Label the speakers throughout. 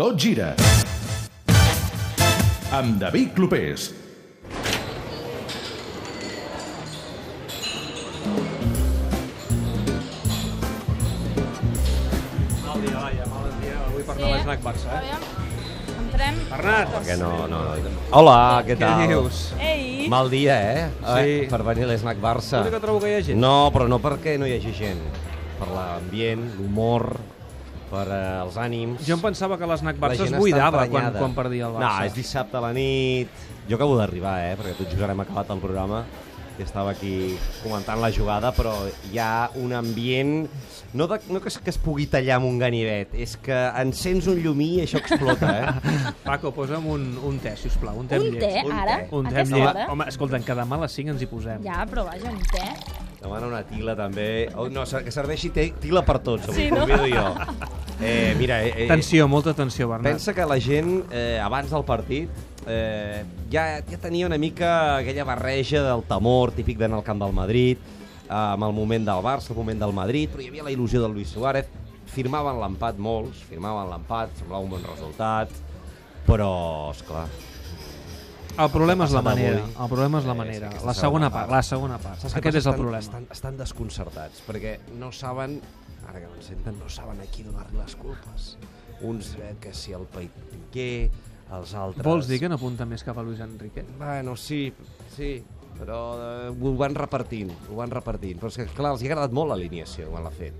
Speaker 1: Tot gira. Amb David Clopés.
Speaker 2: Mal dia, vaja, mal dia. Avui per
Speaker 3: Sí,
Speaker 2: anar a
Speaker 3: eh?
Speaker 2: l'Snac Barça, eh?
Speaker 3: Aviam, entrem.
Speaker 2: Bernat!
Speaker 4: Que no, no. Hola, què
Speaker 2: Què
Speaker 4: tal?
Speaker 2: dius?
Speaker 3: Ei!
Speaker 4: Mal dia, eh?
Speaker 2: Sí.
Speaker 4: eh per venir a l'Snac Barça.
Speaker 2: Potser que trobo que hi ha gent.
Speaker 4: No, però no perquè no hi hagi gent. Per l'ambient, l'humor, per eh, els ànims.
Speaker 2: Jo em pensava que l'Snac
Speaker 4: La
Speaker 2: Barça es
Speaker 4: gent està
Speaker 2: buidava quan,
Speaker 4: emprenyada.
Speaker 2: quan perdia el
Speaker 4: No,
Speaker 2: Barça.
Speaker 4: és dissabte a la nit. Jo acabo d'arribar, eh? Perquè tot just ara hem acabat el programa i estava aquí comentant la jugada, però hi ha un ambient... No, de, no que, es, que es pugui tallar amb un ganivet, és que encens un llumí i això explota, eh?
Speaker 2: Paco, posa'm un, un té, sisplau. Un té amb
Speaker 3: Un
Speaker 2: llet.
Speaker 3: té, ara?
Speaker 2: Un té amb
Speaker 3: Aquesta
Speaker 2: llet.
Speaker 3: hora?
Speaker 2: Home, escolta, que demà a les 5 ens hi posem.
Speaker 3: Ja, però vaja, un té.
Speaker 4: Demana una tila, també. Oh, no, ser- que serveixi te- tila per tots, avui,
Speaker 3: Sí,
Speaker 4: sí, no?
Speaker 3: no?
Speaker 4: jo. Eh, mira, eh, eh,
Speaker 2: Tensió, molta tensió, Bernat.
Speaker 4: pensa que la gent, eh, abans del partit, eh, ja, ja tenia una mica aquella barreja del temor típic d'anar al camp del Madrid, eh, amb el moment del Barça, el moment del Madrid, però hi havia la il·lusió del Luis Suárez. Firmaven l'empat molts, firmaven l'empat, semblava un bon resultat, però, esclar,
Speaker 2: El problema és la
Speaker 4: Ha passat
Speaker 2: manera.
Speaker 4: avui.
Speaker 2: El problema és la
Speaker 4: Eh, és
Speaker 2: manera.
Speaker 4: aquesta
Speaker 2: La
Speaker 4: segona
Speaker 2: segona part,
Speaker 4: part.
Speaker 2: la segona part.
Speaker 4: Saps què
Speaker 2: Aquest
Speaker 4: passa?
Speaker 2: és el
Speaker 4: Estan-
Speaker 2: problema.
Speaker 4: Estan, estan desconcertats, perquè no saben, ara que no en senten, no saben a qui donar-li les culpes. Uns eh, que si el Piqué, els altres...
Speaker 2: Vols dir que no apunta més cap a Luis Enrique?
Speaker 4: Bueno, sí, sí, però eh, ho van repartint, ho van repartint. Però és que, clar, els hi ha agradat molt l'alineació quan l'ha fet.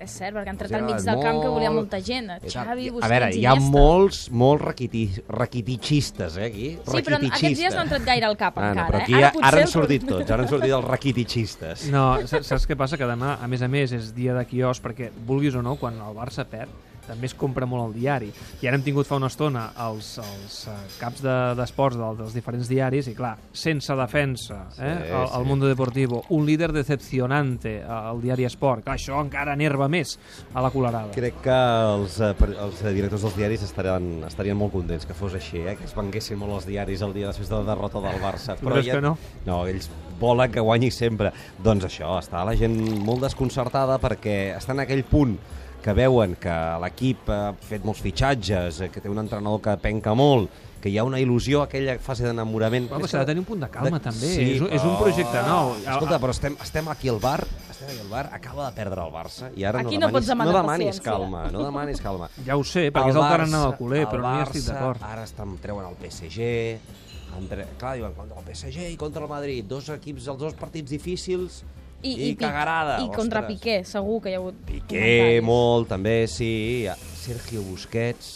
Speaker 3: És cert, perquè ha
Speaker 4: Els
Speaker 3: entrat
Speaker 4: hi ha
Speaker 3: al mig
Speaker 4: agradat
Speaker 3: del camp que volia
Speaker 4: molt.
Speaker 3: molta gent.
Speaker 4: I tal.
Speaker 3: Xavi,
Speaker 4: a
Speaker 3: Busquets,
Speaker 4: veure, hi ha
Speaker 3: Iniesta.
Speaker 4: molts, molts raquiti, raquitichistes, eh, aquí.
Speaker 3: Sí, però aquests dies no ha entrat gaire al cap
Speaker 4: Ah, no,
Speaker 3: encara.
Speaker 4: però aquí
Speaker 3: eh?
Speaker 4: ara,
Speaker 3: potser
Speaker 4: ara han
Speaker 3: el-
Speaker 4: sortit tots, ara han sortit els raquitichistes.
Speaker 2: No, sa- saps què passa? Que demà, a més a més, és dia de quios perquè, vulguis o no, quan el Barça perd, també es compra molt el diari. I ara hem tingut fa una estona els, els eh, caps de- d'esports de, dels diferents diaris i, clar, sense defensa, eh? el, el
Speaker 4: sí.
Speaker 2: Mundo Deportivo, un líder decepcionante eh, al diari Esport. Clar, això encara enerva més a la colorada.
Speaker 4: Crec que els, eh, pre- els eh, directors dels diaris estarien, estarien molt contents que fos així, eh? que es venguessin molt els diaris el dia després de la derrota del Barça.
Speaker 2: Però és que no.
Speaker 4: No, ells volen que guanyi sempre. Doncs això, està la gent molt desconcertada perquè està en aquell punt que veuen que l'equip ha fet molts fitxatges, eh, que té un entrenador que penca molt, que hi ha una il·lusió, aquella fase d'enamorament...
Speaker 2: Però
Speaker 4: És
Speaker 2: s'ha de
Speaker 4: que-
Speaker 2: tenir un punt de calma,
Speaker 4: de-
Speaker 2: també.
Speaker 4: sí,
Speaker 2: és, un- és un
Speaker 4: però-
Speaker 2: projecte nou. Ah,
Speaker 4: Escolta, però estem, estem aquí al bar, estem aquí al bar, acaba de perdre el Barça i ara
Speaker 3: Aquí
Speaker 4: no
Speaker 3: no
Speaker 4: demanis,
Speaker 3: pots demanar
Speaker 4: no demanis
Speaker 3: paciència.
Speaker 4: calma, no demanis calma.
Speaker 2: Ah, Ja ho sé, perquè és el tarannà del culer, però no hi estic
Speaker 4: Barça ah,
Speaker 2: d'acord.
Speaker 4: Ara estan, treuen el PSG, entre, clar, diuen contra el PSG i contra el Madrid, dos equips, els dos partits difícils i, i,
Speaker 3: Piqué-
Speaker 4: cagarada.
Speaker 3: I contra
Speaker 4: ostres.
Speaker 3: Piqué, segur que hi ha hagut...
Speaker 4: Piqué
Speaker 3: comentaris.
Speaker 4: molt, també, sí. Sergio Busquets,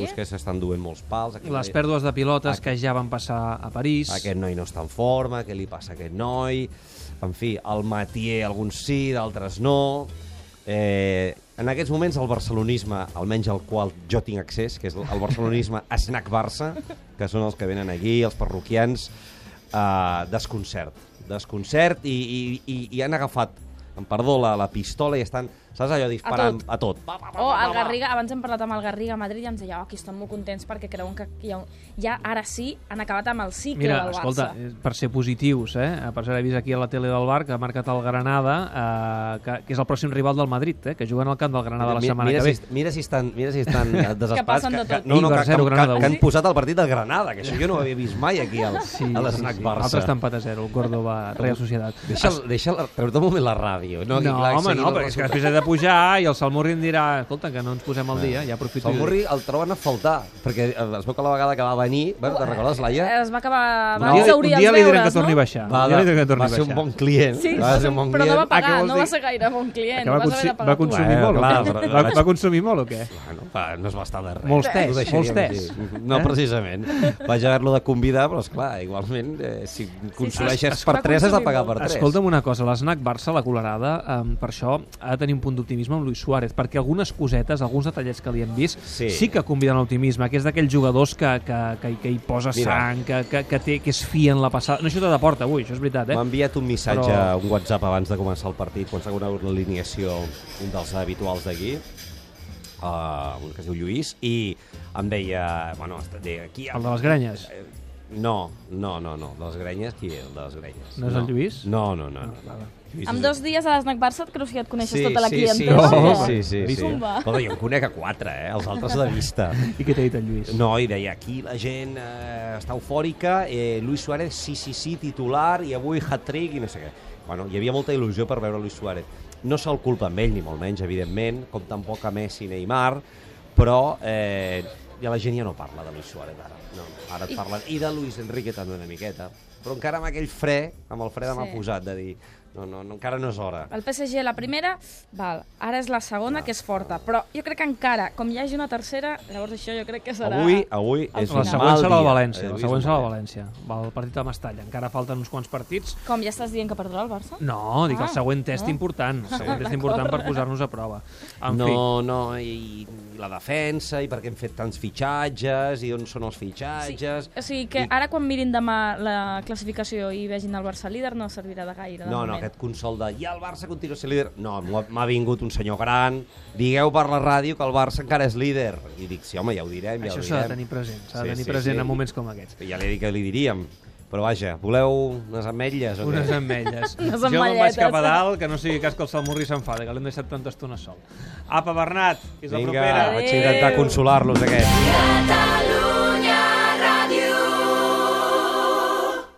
Speaker 3: Sí?
Speaker 4: Busquets s'estan duent molts pals. Aquest
Speaker 2: Les
Speaker 4: noi-
Speaker 2: pèrdues de pilotes que ja van passar a París...
Speaker 4: Ah, aquest noi no està en forma, què li passa a aquest noi... En fi, el Matier, alguns sí, d'altres no... Eh, en aquests moments el barcelonisme, almenys al qual jo tinc accés, que és el barcelonisme Snack Barça, que són els que venen aquí, els parroquians, eh, desconcert. Desconcert i, i, i, i han agafat, em perdó, la, la pistola i estan, saps allò, disparant a tot. Pa, pa,
Speaker 3: O
Speaker 4: pa, pa,
Speaker 3: Oh, el
Speaker 4: pa, pa.
Speaker 3: Garriga, abans hem parlat amb el Garriga a Madrid i ens deia oh, aquí estan molt contents perquè creuen que hi ha un... ja ara sí han acabat amb el cicle
Speaker 2: Mira,
Speaker 3: del Barça.
Speaker 2: escolta, eh, per ser positius, eh? per ser vist aquí a la tele del bar que ha marcat el Granada, eh, que, que és el pròxim rival del Madrid, eh? que juguen al camp del Granada la
Speaker 4: Mi-
Speaker 2: setmana
Speaker 4: mira
Speaker 2: que ve.
Speaker 4: Si, mira si estan, mira si estan eh, desesperats.
Speaker 3: passen de tot.
Speaker 4: no, no,
Speaker 2: Eibar
Speaker 4: que, que,
Speaker 2: zero,
Speaker 4: que,
Speaker 2: Granada
Speaker 4: que han
Speaker 2: un.
Speaker 4: posat el partit del Granada, que això jo no ho havia vist mai aquí al, sí, a l'esnac Barça.
Speaker 2: Altres estan a zero, Córdoba, Real Societat.
Speaker 4: Deixa, deixa la, treu-te un moment la ràdio.
Speaker 2: No,
Speaker 4: No, aquí, clar,
Speaker 2: home,
Speaker 4: seguint
Speaker 2: no,
Speaker 4: el
Speaker 2: perquè és que
Speaker 4: resultat.
Speaker 2: després he de pujar i el Salmurri em dirà escolta, que no ens posem al dia, ja aprofito.
Speaker 4: El Murri el troben a faltar, perquè eh, es veu que la vegada que va venir... Bueno, te'n recordes, Laia?
Speaker 3: Es va acabar...
Speaker 2: Un
Speaker 3: Va
Speaker 2: dia, un
Speaker 3: exaurir Ah, els
Speaker 2: dia li diré que
Speaker 3: deures,
Speaker 2: torni a
Speaker 3: no?
Speaker 2: baixar.
Speaker 4: va,
Speaker 2: un dia li diré que
Speaker 4: va
Speaker 2: torni a
Speaker 4: ser un
Speaker 2: baixar.
Speaker 4: bon client.
Speaker 3: Sí,
Speaker 4: va ser
Speaker 3: sí,
Speaker 4: un bon
Speaker 3: però
Speaker 4: client.
Speaker 3: no va
Speaker 2: Ah,
Speaker 3: pagar,
Speaker 2: què vols
Speaker 3: no va
Speaker 2: dir?
Speaker 3: ser gaire bon client.
Speaker 2: Que va,
Speaker 3: vas haver
Speaker 2: consu-
Speaker 3: de pagar
Speaker 2: va
Speaker 3: tu.
Speaker 2: consumir
Speaker 4: Eh,
Speaker 2: molt,
Speaker 4: clar,
Speaker 2: o què?
Speaker 4: però-
Speaker 2: Va, va consumir molt o què?
Speaker 4: Bueno, va, Ah, no es va estar de res.
Speaker 2: Molts
Speaker 4: Ho
Speaker 2: tests,
Speaker 4: deixaríem
Speaker 2: molts
Speaker 4: aquí.
Speaker 2: tests.
Speaker 4: No,
Speaker 2: Eh?
Speaker 4: precisament. Vaig haver-lo de convidar, però, esclar, igualment, eh, si
Speaker 3: es-
Speaker 4: consumeixes
Speaker 3: es
Speaker 4: per
Speaker 3: va
Speaker 4: tres, has de
Speaker 3: consumir
Speaker 4: pagar per
Speaker 3: molt.
Speaker 4: tres.
Speaker 2: Escolta'm una cosa, l'esnac Barça, la colorada, eh, per això ha de tenir un punt d'optimisme amb Luis Suárez, perquè algunes cosetes, alguns detallets que li hem vist,
Speaker 4: Sí.
Speaker 2: sí, sí que conviden a l'optimisme, que és d'aquells jugadors que, que, que, que hi posa Mira.
Speaker 4: Mira.
Speaker 2: sang, que, que, que, té, que es fia en la passada. No, això t'ha de porta avui, això és veritat, eh?
Speaker 4: M'ha enviat un missatge,
Speaker 2: Però-
Speaker 4: un WhatsApp abans de començar el partit, quan s'ha conegut l'alineació un dels habituals d'aquí, uh, un que es diu Lluís, i em deia, bueno, està- de aquí...
Speaker 2: El de les granyes.
Speaker 4: Eh, No, no, no, no, de les grenyes, qui és el de les grenyes?
Speaker 2: No és el Lluís?
Speaker 4: No, no, no. no.
Speaker 2: vale.
Speaker 4: Sí, sí,
Speaker 3: Amb
Speaker 4: sí.
Speaker 3: dos dies a l'Snac Barça et creus que ja et coneixes
Speaker 4: Sí,
Speaker 3: tota la
Speaker 4: sí,
Speaker 3: clientela.
Speaker 4: Sí,
Speaker 2: Oh,
Speaker 4: sí, sí. sí, sí.
Speaker 3: Com va?
Speaker 4: Però jo en conec a quatre, eh? Els altres de vista.
Speaker 2: I què t'ha dit el Lluís?
Speaker 4: No, i deia, aquí la gent eh, està eufòrica, eh, Luis Suárez, sí, sí, sí, titular, i avui hat-trick, i no sé què. Bueno, hi havia molta il·lusió per veure Luis Suárez. No se'l culpa amb ell, ni molt menys, evidentment, com tampoc a Messi i Neymar, però eh, ja la gent ja no parla de Luis Suárez ara. No, ara et parlen, i de Luis Enrique també una miqueta, però encara amb aquell fre, amb el fre de m'ha
Speaker 3: Sí.
Speaker 4: posat, de dir, no, no, no, encara no és hora.
Speaker 3: El PSG la primera, val, ara és la segona, que és forta, però jo crec que encara, com hi hagi una tercera, llavors això jo crec que serà...
Speaker 4: Avui, avui és
Speaker 2: La
Speaker 4: un
Speaker 2: següent
Speaker 4: mal
Speaker 2: serà la
Speaker 4: dia. Eh,
Speaker 2: València,
Speaker 4: Avui
Speaker 2: la
Speaker 4: és
Speaker 2: següent
Speaker 4: un
Speaker 2: serà
Speaker 4: mal
Speaker 2: la
Speaker 4: dia.
Speaker 2: València. Va, El partit del Mestalla. Encara falten uns quants partits.
Speaker 3: Com ja estàs dient que perdrà el Barça?
Speaker 2: No, dic
Speaker 3: Ah,
Speaker 2: el següent test
Speaker 3: no.
Speaker 2: important. El següent test important per posar-nos a prova. En
Speaker 4: no,
Speaker 2: fi,
Speaker 4: no, i, i la defensa, i per què hem fet tants fitxatges, i on són els fitxatges...
Speaker 3: O sigui que
Speaker 4: I-
Speaker 3: ara quan mirin demà la classificació i vegin el Barça líder no servirà de gaire, de
Speaker 4: No, no,
Speaker 3: moment.
Speaker 4: aquest consol de ja el Barça continua sent líder. No, m'ho ha- m'ha vingut un senyor gran, digueu per la ràdio que el Barça encara és líder. I dic, sí, home, ja ho direm, ja
Speaker 2: això
Speaker 4: ho
Speaker 2: s'ha de
Speaker 4: direm.
Speaker 2: tenir present. S'ha
Speaker 4: Sí,
Speaker 2: de tenir
Speaker 4: sí,
Speaker 2: present
Speaker 4: sí.
Speaker 2: en moments com aquests.
Speaker 4: Ja li he dit que li diríem. Però vaja, voleu unes ametlles o
Speaker 2: Unes
Speaker 4: què?
Speaker 2: ametlles.
Speaker 3: Unes
Speaker 2: jo me'n vaig
Speaker 3: ametlletes.
Speaker 2: cap a dalt, que no sigui cas que el Salmurri s'enfada, que l'hem deixat tanta estona sol. Apa, Bernat, fins la
Speaker 4: Vinga,
Speaker 2: propera.
Speaker 4: vaig intentar consolar-los, aquests.
Speaker 1: Catalunya.